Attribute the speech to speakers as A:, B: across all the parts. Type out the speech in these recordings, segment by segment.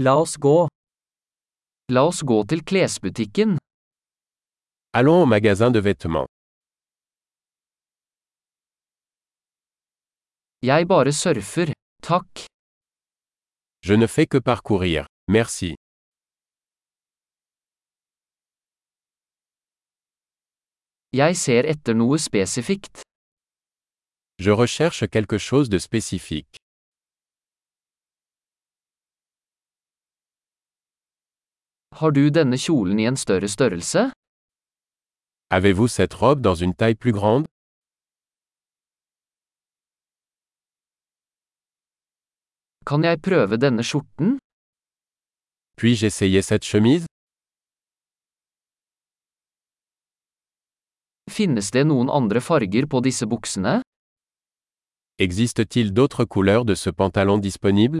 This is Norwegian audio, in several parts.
A: La oss gå. La oss gå til klesbutikken.
B: Allons au magasin de vêtements.
A: Jeg bare surfer. Takk.
B: Je ne fais que parcourir. Merci.
A: Jeg ser etter noe spesifikt.
B: Je recherche quelque chose de spécifique.
A: Har du denne kjolen i en større størrelse?
B: Avez-vous cette robe dans une taille plus grande
A: Kan jeg prøve denne skjorten?
B: Puis-je essayer cette chemise
A: Finnes det noen andre farger på disse buksene?
B: Existe-t-il d'autres couleurs de ce pantalon disponible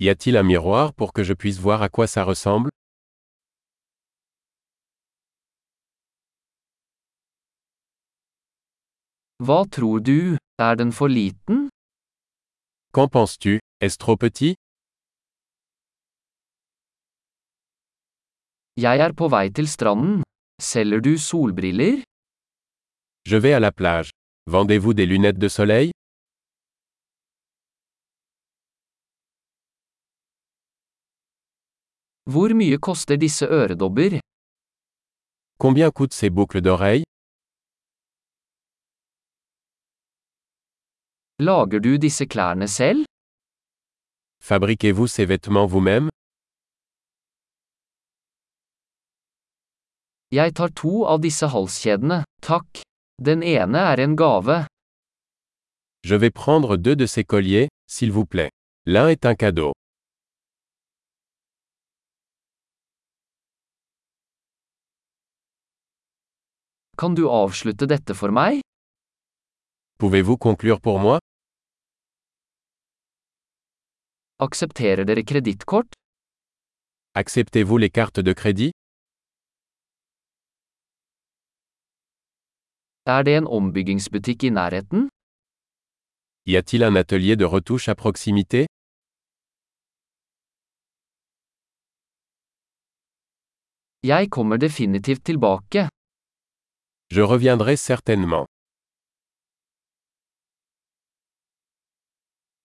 B: Y a-t-il un miroir pour que je puisse voir à quoi ça ressemble
A: Hva tror du? Er den for liten?
B: Qu'en penses-tu Est-ce trop petit
A: Jeg er på vei til stranden. Selger du solbriller?
B: Je vais à la plage. Vendez-vous des lunettes de soleil
A: Hvor mye koster disse øredobber?
B: Combien coûtent ces boucles d'oreilles
A: Lager du disse klærne selv?
B: Fabriquez-vous ces vêtements vous-même
A: Jeg tar to av disse halskjedene, takk. Den ene er en gave.
B: Je vais prendre deux de ces colliers, s'il vous plaît. L'un est un cadeau.
A: Kan du avslutte dette for meg?
B: Pouvez-vous conclure pour moi
A: Aksepterer dere kredittkort?
B: Acceptez-vous les cartes de crédit
A: Er det en ombyggingsbutikk i nærheten?
B: Y a-t-il un atelier de retouche à proximité
A: Jeg kommer definitivt tilbake.
B: Je reviendrai certainement.